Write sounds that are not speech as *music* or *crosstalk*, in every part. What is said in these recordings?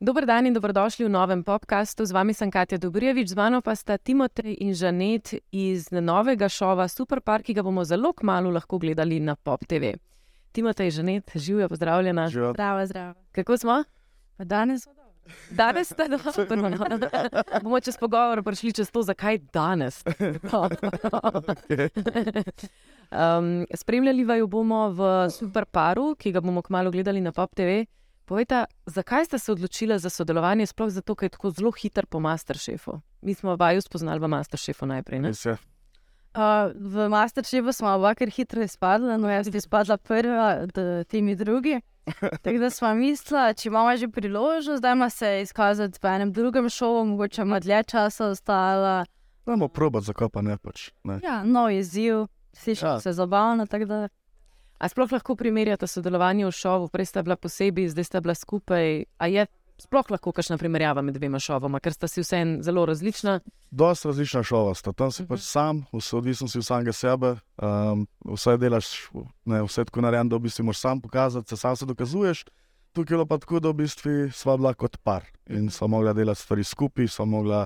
Dober dan in dobrodošli v novem podkastu. Z vami sem Katja Dobrijevič, z mano pa sta Timotej in Žanet iz novega šova Superpar, ki ga bomo zelo kmalo lahko gledali na Pop TV. Timotej, Žanet, živijo, pozdravljena. Živijo. Zdravo, zdravo. Kako smo? Pa danes Danes ste dobro. *laughs* Bomo čez pogovor prišli čez to, zakaj danes. um, spremljali vaju bomo v Superparu, ki ga bomo kmalo gledali na Pop TV. Povejte, zakaj ste se odločili za sodelovanje, sploh zato, ker je tako zelo hiter po Masterchefu? Mi smo vaju spoznali v Masterchefu *laughs* najprej. Ne? Res je. uh, v Masterchefu smo oba kar hitro izpadla, no jaz bi izpadla prva, d- ti mi drugi. Tako da smo mislili, če imamo že priložnost, da ima se izkazati v enem drugem šovu, mogoče ima dlje časa ostala. Dajmo probat, zakaj pa ne pač. Ne. Ja, nov izziv, sliši Ja. ja. se zabavno, tako da A sploh lahko primerjate sodelovanje v šovu, prej sta bila posebej, zdaj sta bila skupaj. A je sploh lahko kakšna primerjava med dvema šovoma, ker sta si vseeno zelo različna? Dost različna šova sta, tam si pač Mhm. sam, vse odvisen si od samega sebe, um, vse delaš, ne, vse tako narejen, da v bistvu moraš sam pokazati, se sam se dokazuješ. Tukaj je bilo pa tako, da v bistvu sva bila kot par in sva mogla delati stvari skupaj, sva mogla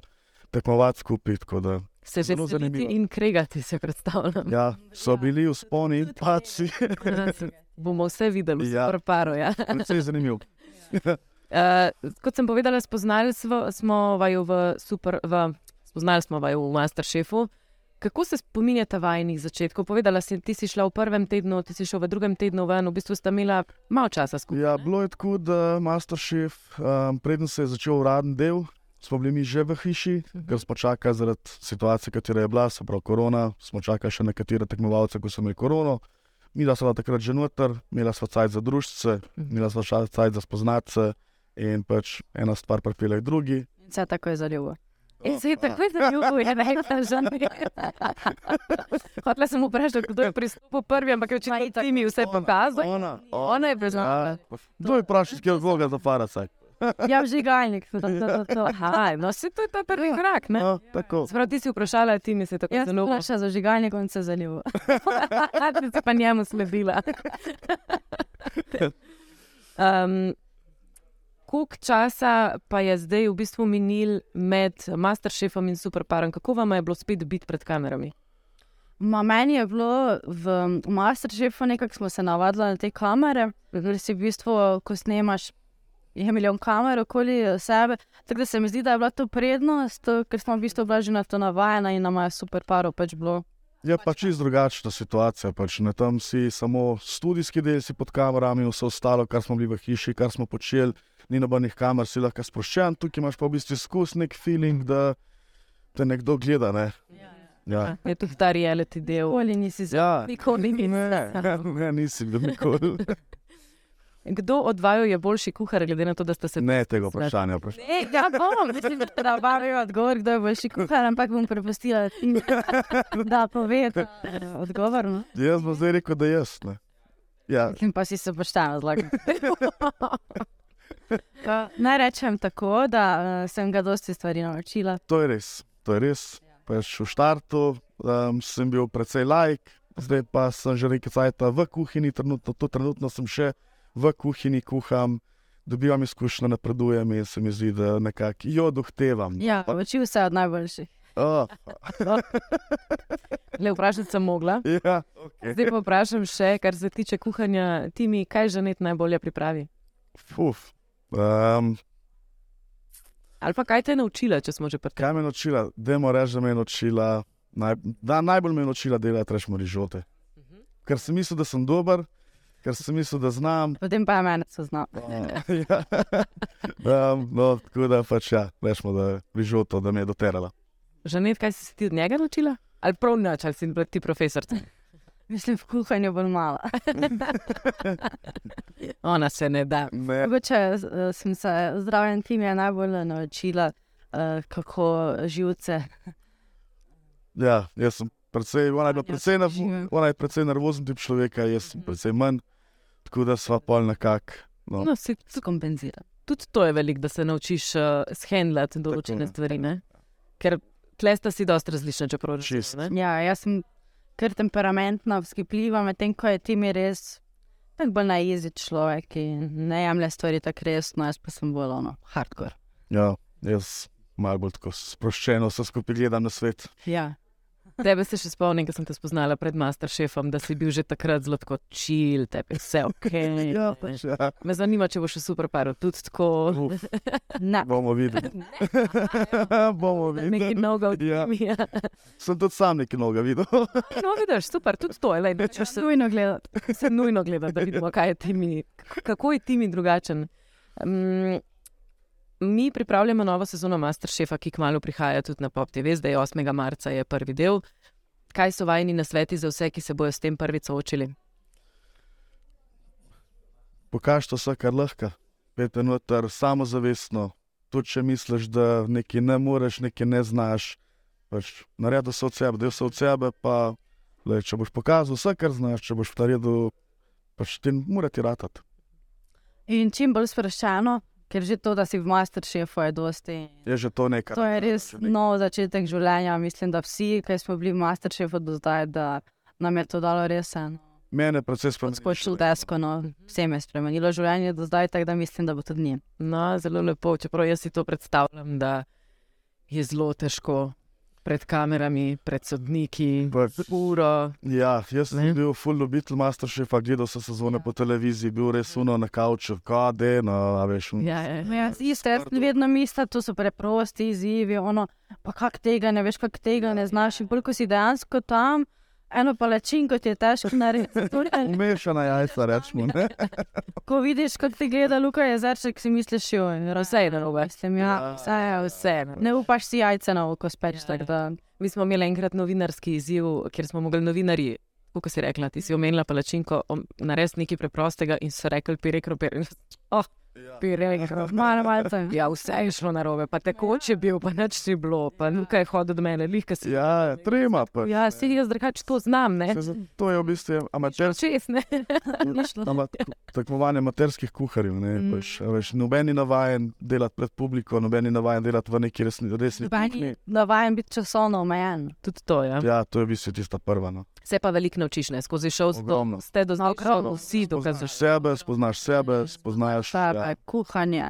tekmovati skupaj. tako Da, Se že Zelo zanimivo. zanimivo. In kregati se *laughs* predstavljam. ja, so bili vzponi in paci, Bomo vse videli, Ja. ja. paro. Ja. precej zanimivo. Uh, kot sem povedala, spoznali smo, smo vaju v super, v, spoznali smo vaju v Masterchefu. Kako se spominjate vajnih začetkov? Povedala si, ti si šla v prvem tednu, ti si šla v drugem tednu ven, v bistvu sta imela malo časa skupaj. Ja, bilo je tako, da Masterchef, um, preden se je začel uraden del, smo bili mi že v hiši, Mhm. ker smo čakali zaradi situacije, katera je bila, se pravi korona, smo čakali še nekatere tekmovalce, ko so imeli korono. Mi da smo takrat že noter, imela smo cajt za družce, Mhm. imela smo še cajt za spoznatce in pač ena stvar pripela k drugi. vse tako je zaljubo. In se E, je tako zelo zavedala, že ne. Hotela sem vprašati, kdo je pristopil prvi, ampak je očitno ti mi vse pokazal. Ona, Ona je priznala. Ja, Kdo je vprašal, kje je vloga za faracaj? Ja, vžigalnik, to, to, to, to. Aha, no se to je ta prvi korak, ne? Ja, No, tako. Sprav ti si vprašala, ti mi se je tako Jaz sem zelo bila še za vžigalnikom in se *laughs* zaljubo. A ti si pa njemu sledila. um, Koliko časa pa je zdaj v bistvu minil med Masterchefom in Superparom? Kako vam je bilo spet biti pred kamerami? Ma, meni je bilo v Masterchefu nekako smo se navadili na te kamere, ker si v bistvu, ko snemaš, je milijon kamer okoli sebe. Tako da se mi zdi, da je bila to prednost, ker smo v bistvu bila že na to navajena in nam je super paro pač bilo. Je pa Ja, pač čisto drugačna situacija. Pač, ne, tam si samo studijski del, si pod kamerami, vse ostalo, kar smo bili v hiši, kar smo počeli, ni nobenih kamer, si lahko sproščen, tukaj imaš pa v bistvu skus nek feeling, da te nekdo gleda. Ne? Ja, Je tudi ta reality del. Oli nisi zelo. ja. Nikoli ni Ne, Ja, ne, nisem bil nikoli. *laughs* Kdo od vaju je boljši kuhar, glede na to, da ste se Ne tega vprašanja. pač. vprašanja. Ej, ja, bom, mislim, da vam je odgovor, kdo je boljši kuhar, ampak bom prepustila ti, *laughs* da pove ta, eh, odgovor. No? Jaz bom zdaj rekel, da jaz. Ne. Ja, In pa si se pošteno *laughs* zlagal. Naj rečem tako, da eh, sem ga dosti stvari naučila. to je res. To je res. Pač v štartu um, sem bil precej lajk, zdaj pa sem že nekaj časa v kuhinji, trenutno, to trenutno sem še v kuhinji, kuham, dobivam izkušnje, napredujem in se mi zdi, da nekako jo dohtevam. Ja, Pa- učil se od najboljših. Oh, le vprašati, sem mogla. ja, okay. Zdaj pa vprašam še, kar se tiče kuhanja, ti mi, kaj že net najbolje pripravi? Uf. Um, Ali pa kaj te je naučila, če smo že pri tem? kaj me je naučila? Demo reči, da me je naučila. Naj, da, najbolj me je naučila delati rečemo rižote. Ker sem mislil, da sem dober, ker sem mislil, da znam, Potem pa je meni seznam. Ja. *laughs* um, no, tako da pač ja, rečemo, da je žoto, da me je doterala. Žanet, kaj si se ti od njega naučila? Ali prav nič, ali si bila ti profesor? *laughs* Mislim, v kuhanju bolj malo. *laughs* Ona se ne da. Ne. Mogoče eh, sem se zdravljen tim je najbolj naučila, eh, kako živce. Ja, jaz sem precej, ona je bila Anja, precej, živim. nerv, ona je precej nervozen tip človeka, jaz sem precej manj, tako da sva pol nekako. No. No, se, Skompenzira. tudi to je veliko, da se naučiš uh, shendlati določene Tako. Ja. stvari. Ne? Ker tlesta si dosta različna, če prav Čisto. rečeš. Ja, jaz sem kar temperamentna, vzkipljiva, medtem ko je tim res tako bolj najizi človek, ki ne jemlje stvari tako resno, jaz pa sem bolj ono, hardcore. Ja, jaz malo bolj tako sproščeno vse skupaj gledam na svet. Ja. Tebe se še spomnim, ko sem te spoznala pred Masterchefom, da si bil že takrat zelo tako čil, tebi je vse *laughs* ok. Ja, pač, ja. Me zanima, če boš v superparu tudi tako. Uf, Ne, bomo videli. *laughs* bomo Nekaj videli. novega od Ja. njih. Ja. Sem tudi sam nekaj novega videl. *laughs* No, vidiš, super, tudi to je. Lej, če se nujno gledati. se nujno gleda, da vidimo, kaj je timi, kako je timi drugačen. Um, mi pripravljamo novo sezono Masterchefa, ki kmalo prihaja tudi na Pop TV, zdaj 8. marca je prvi del. Kaj so vajni na sveti za vse, ki se bodo s tem prvič soočili? Pokaž to vse, kar lahko. Pete noter, samozavestno. Tudi če misliš, da nekaj ne moreš, nekaj ne znaš, pač naredi vse od sebe, del se od sebe. Pa, le, če boš pokazal vse, kar znaš, če boš naredil, pač ti mora ti ratati. In čim bolj sproščeno, ker že to, da si v masterchefu, je dosti. Je že to nekaj. To je res Če ne- nov začetek življenja. Mislim, da vsi, ki smo bili v masterchefu do zdaj, da nam je to dalo res en. Mene predvsem spremeni. Skočil desko, no, Mhm. vsem je spremenilo življenje do zdaj, tako da mislim, da bo tudi njim. No, zelo lepo, čeprav jaz si to predstavljam, da je zelo težko pred kamerami, pred sodniki, Pač, uro. Ja, jaz Ne? sem bil full ljubitelj Masterchefa, gledal sem Ja. sezone po televiziji, bil res uno na kavču, kade, no, a veš. un- Ja, je. Ja, isto, jaz sem vedno mislil, to so preprosti izzivi, ono, pa kak tega ne veš, kak tega ne znaš. In bolj, ko si dejansko tam, eno palačinko ti je težko narediti. Torej, To je- Umešana jajca, rečemo. *laughs* ne? Ko vidiš, kako ti gleda Luka Jezerček, si misliš, jo, vse je narobe. Mislim, ja, vse je vse. Ja, Vse, Ja, Ne upaš si jajce na oko speč, tako da Mi smo imeli enkrat novinarski izziv, kjer smo mogli novinarji, tako kot si rekla, ti si omenila palačinko, om- narediti nekaj preprostega in so rekli, pirekro, pirekro. Oh, Ja. pirekro. malo malce. Ja, vse je šlo na robe, pa tekoč je bil, pa nič ni bilo, pa Ja. nekaj je hodil do mene, lihka si. Ja, trema pa. Ja, si jaz drugače to znam, ne? Se za- To je v bistvu amatersko Čez, ne? tekmovanje amaterskih kuharjev. Ne, pač, a veš, noben je navaden delati pred publiko, noben je navaden delati v neki resni, resni kuhinji. Navajen biti časovno omejen. Tudi to, ja. Ja, to je v bistvu tista prva. No. Se pa veliko naučiš, ne? Skozi šov Ogromno. ste do zdaj Ogromno. šel, vsi Spoznaš dokazaš. sebe, spoznaš sebe, spoznaš. Šarbe, Ja. ja. kuhanje.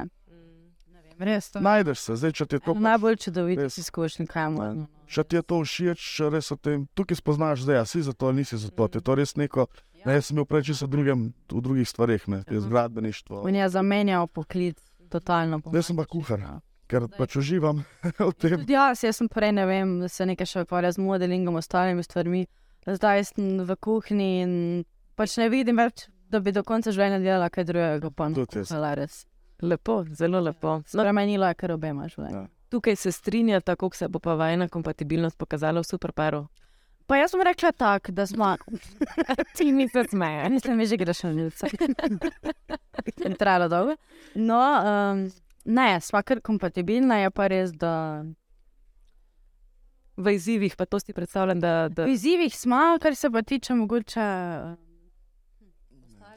Res to. Najdeš se, zdaj če ti je to pač Najbolj čudovit Res. izkušnja, kaj Ja. moramo. Če ti je to všeč, če res o tem, tukaj spoznaš, da si za to ali nisi za to. Ti je to res neko, ne, jaz sem bil prej čisto v drugem- v drugih stvareh, ne, jaz gradbeništvo, On je zamenjal poklic, totalno. po Zdaj sem mojem. pa kuhar. ker pač uživam *laughs* v tem. Tudi jaz, jaz sem prej ne vem, da se nekaj še ukvarja z modelingom, ostalimi stvarmi. Zdaj sem v kuhinji in pač ne vidim več, da bi do konca življenja delala kaj drugega. Pa no, Tudi jaz. kuhala res. Lepo, zelo lepo. No, Spremenilo je kar obema življenja. Ja. tukaj se strinja, tako kot se bo pa vajna kompatibilnost pokazala v superparu. Pa jaz sem rekla tako, da smo. *laughs* Ti mi se smeješ. Mislim, da že greš na ljubice. *laughs* In trajalo dolgo. No, um, ne, sva kar kompatibilna, je pa res, da V izzivih pa to si predstavljam, da, da v izzivih smo, kar se pa tiče mogoče.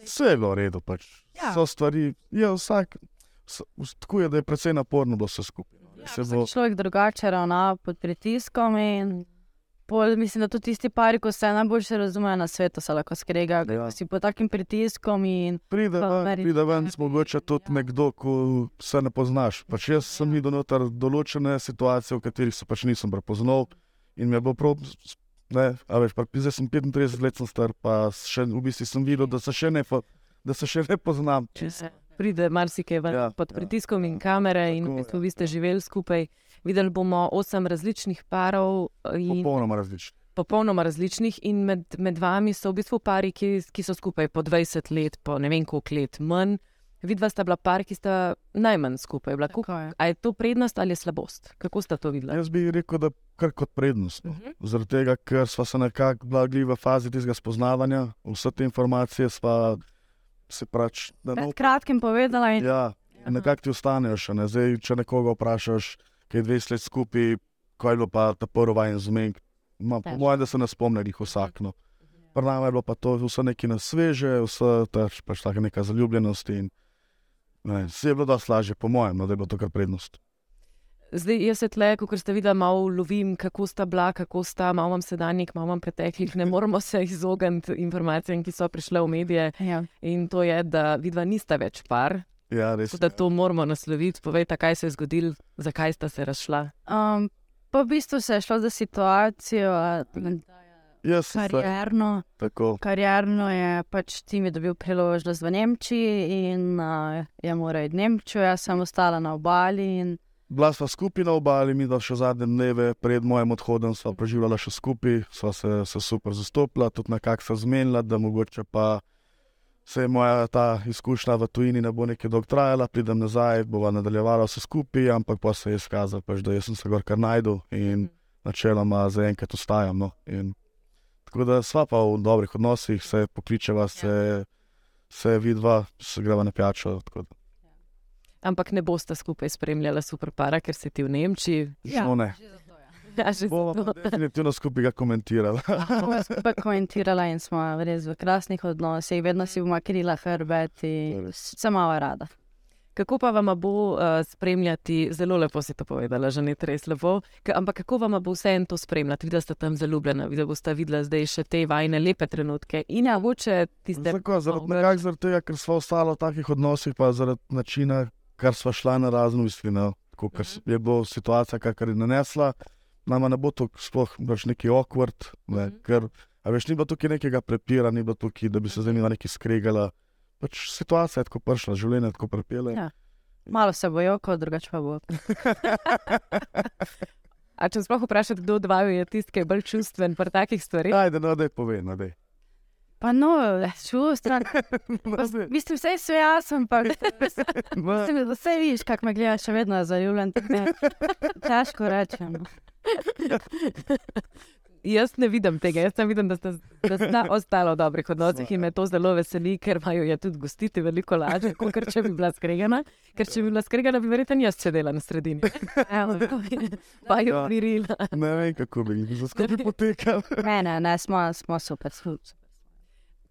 Vse je bilo v redu, pač. Ja. So stvari, je vsak, vs- vs- tako je, da je precej naporno bilo vse skupaj. no. Ja, Res je bilo- Vsak človek drugače ravna pod pritiskom in pol, mislim, da tudi tisti pari, ko se najboljše razumejo na svetu, se lahko skregajo, Ja. ker si pod takim pritiskom in Pride Pa ja. ven, verjetno pride ven, ne smo mogoče tudi nekdo, ko se ne poznaš. Pač jaz Ja. sem videl noter določene situacije, v katerih se pač nisem prepoznal in mi je bilo prav. s- Ne, a veš, pa, zdaj sem 35 let sem star, pa še, v bistvu sem videl, da se še ne, po- da se še ne poznam. Če pride marsikaj ven ja, Ja, pod ja. pritiskom ja, in kamere, in Tako, v ja. bistvu vi ste živeli skupaj. Videli bomo osem različnih parov, eh, in Popolnoma različni. popolnoma različnih, in med, med vami so v bistvu pari, ki, ki so skupaj po 20 let, po ne vem koliko let manj. Vidva sta bila par, ki sta najmanj skupaj. Bila. Kako- tako je. A je to prednost ali je slabost? Kako sta to videla? Jaz bi rekel, da kar kot prednost. No. Mhm. Zaradi tega, ker smo se nekako blagli v fazi tistega spoznavanja, vse te informacije smo se pač na novo Pred kratkim povedala in Ja, nekako ti ostanejo še ne. Zdaj, če nekoga vprašaš, ki je 20 let skupaj, kaj je bilo pa ta prvi vajen zmenek, ma, po Težko. mojem, da se ne spomne jih vsakno. Pri nami je bilo pa to vse neki na sveže, vse tač, pač taka neka zaljubljenost in ne, vse je bilo dosti lažje, po mojem, no, da je bilo to kar prednost. Zdaj, jaz se tle, kot ste videli, malo lovim, kako sta bila, kako sta, malo imam sedanjik, malo imam preteklih, ne moramo *laughs* se izogniti informacijam, ki so prišle v medije. Ja. In to je, da vidva nista več par, Ja, res. tako da to moramo nasloviti. Povejte, kaj se je zgodilo, zakaj sta se razšla. Um, pa v bistvu se je šlo za situacijo, a, Jaz sem se karierno. tako. Karierno je pač tim je dobil priložnost v Nemčiji in uh, je moral iti v Nemčijo, jaz sem ostala na obali. In, Bila sva skupaj na obali, mi dva še zadnje dneve, pred mojim odhodom sva preživljala še skupaj, sva se, se super zastopila, tudi nekako se zmenila, da mogoče pa se je moja ta izkušnja v tujini ne bo nekaj dolg trajala, pridem nazaj, bova nadaljevala vse skupaj, ampak pa se je izkazalo, pač, da jaz sem se gor kar najdel in načeloma zaenkrat ostajam. No. In, tako da sva pa v dobrih odnosih, se pokličeva, se, se vidva, se greva na pijačo. tako da- Ampak ne boste skupaj spremljali superpara, ker si ti v Nemčiji. Ja. No, ne. Ja, že Bova zato. pa definitivno skupaj ga komentirala. Bova Skupaj komentirala in smo res v krasnih odnosih, vedno si bomo krila hrbet in s- se malo rada. Kako pa vam bo uh, spremljati, zelo lepo si to povedala, že ni res lepo, K ampak kako vam bo vseeno to spremljati, videla ste tam zaljubljena, videla boste videla zdaj še te vajne lepe trenutke in ja, mogoče tiste. Tako, zaradi, Dobro. nekako zaradi tega, ker smo ostali v takih odnosih, pa zaradi načina, kar smo šla na razno, mislim, no. tako ker s- je bila situacija, kakor je nanesla. Nama ne bo to sploh več neki okvart, ne, Mhm. ker a veš, ni bilo tukaj nekega prepira, ni bilo tukaj, da bi se zanima nekaj skregala. Pač situacija je tako prišla, življenje je tako prepele. Ja. Malo se bojo, kot drugače pa bo. A če sploh vprašate, kdo od vaju je tisti, ki je bolj čustven pri takih stvareh? Ajde, no, da je pove, no, da je. Pa no, *laughs* čustva. Mislim, vse je jaz, ampak mislim, da vse vidiš, kako me gledaš, še vedno je zaljubljen. tako da Težko rečem. Jaz ne vidim tega, jaz ne vidim, da ste, da ste ostalo v dobrih odnosih in me to zelo veseli, ker imajo je tudi gostiti veliko lažje, kot ker če bi bila skregana. Ker če bi bila skregana, bi verjetno jaz sedela na sredini. Evo, Pa jo Ja. mirila. Ne vem, kako bi jih skupaj potekal. ne, ne, ne, smo, smo super. super.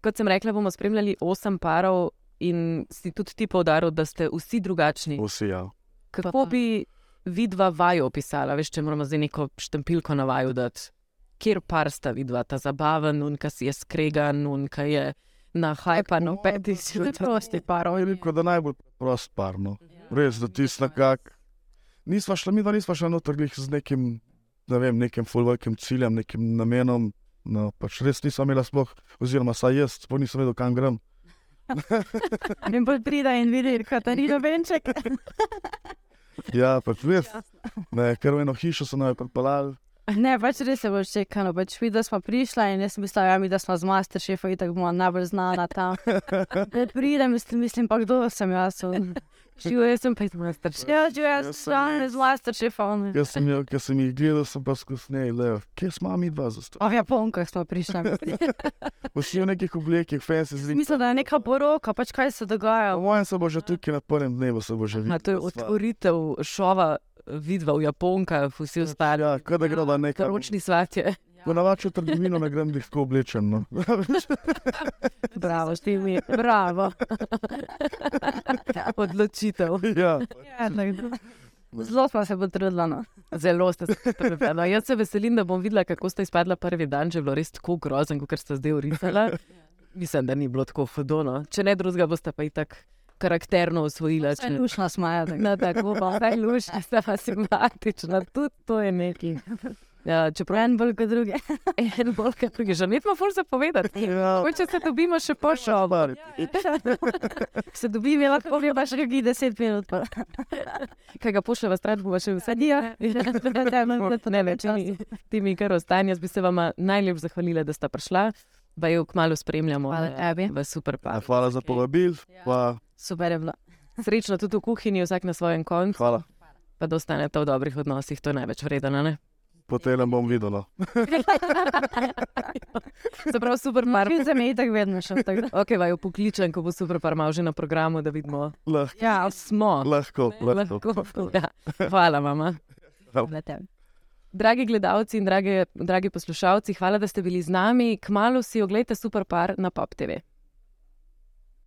Kot sem rekla, bomo spremljali osem parov in si tudi ti poudaril, da ste vsi drugačni. Vsi, ja. Kako bi vidva vaju opisala, veš, če moramo zdaj neko štampilko na vaju dati? Kjer par sta vidva, ta zabaven, unka si je skregan, unka je na hajpa, no peti si Tudi prosti Prav je parov. rekel, da je najbolj prost parno. Res, Mhm. da tisti nekako. Nisva šla, mi dva nisva šla noter glih z nekim, ne vem, nekim fulvojkim ciljem, nekim namenom. No, pač res nisem imela sploh, oziroma saj jaz, sploh nisem vedela, kam grem. In bolj pride in vidi, Katarina Benček. Ja, pač res. Ne, ker v eno hišo so naj pripeljali. Ne, pač res je bilo čekano. Pač videla smo prišla in jaz sem mislila, ja, mi da smo z masterchefom in tako bomo najbolj znana tam. Ne pridem, mislim, mislim pa kdo sem jaz. Živo, jaz sem pa iz Masterchef. Ja, že Jaz jaz Ja. sem sem res. z masterchefom. Jaz sem, jo- ker sem jih gledal, sem pa skozi ne, le, kje smo mi dva zastavili. O, v Japonkah smo prišli. Vsi v nekih oblekih, fancy zdi. Mislim, da je neka poroka, pač kaj se *laughs* dogaja. Mojem se bo že tukaj na prvem dnevu, se bo že Ma, videl. to je otvoritev šova, vidva v Japonkah, vsi ostali. Ja, kot da gre da nekaj. Ročni svatje. Ponavadi v trgovino ne grem glih tako oblečen. No. *laughs* Bravo, Ti mi, bravo. odločitev. ja. Ja, tako. Zelo smo se potrudili. No. Zelo ste se pripravili. Jaz se veselim, da bom videla, kako ste izpadla prvi dan, že je bilo res tako grozen, kot ste zdaj *laughs* urisala. Ja. Mislim, da ni bilo tako hudono. Če ne drugega, boste pa itak karakterno osvojila. Saj če ne- Lušna smo, ja, tako. No, tako pa je lušna, ste pa simpatična, tudi to je neki. Ja, čeprav En bolj kot drugi. *laughs* en bolj kot drugi, že nismo bolj zapovedati. Ja. Mogoče se dobimo še po šovu. Šobar. Se dobi, mi lahko gledaš kakih deset minut. Pa. Kaj ga pošlje v stran, bo še vse Sadijo. Ne, *laughs* Ne, ne, če mi, ti mi kar ostane, jaz bi se vam najlepše zahvalila, da sta prišla. Pa jo kmalo spremljamo Hvala eh, tebi. v super Ja, par. Hvala za povabil, pa Super je bilo. Srečno tudi v kuhinji, vsak na svojem koncu, hvala. pa da ostanete v dobrih odnosih, to je največ vredno. a ne? Potem bom videla. Se pravi, super *laughs* par. Marvin za me je tako vedno šel. Tako. Ok, vaju pokličem, ko bo super par mal že na programu, da vidimo, Lah, da Ja, smo. lahko, lahko. Lahko. Ja. Hvala, mama. vse te. Dragi gledalci in drage, dragi poslušalci, hvala, da ste bili z nami. Kmalo si oglejte super par na Pop TV.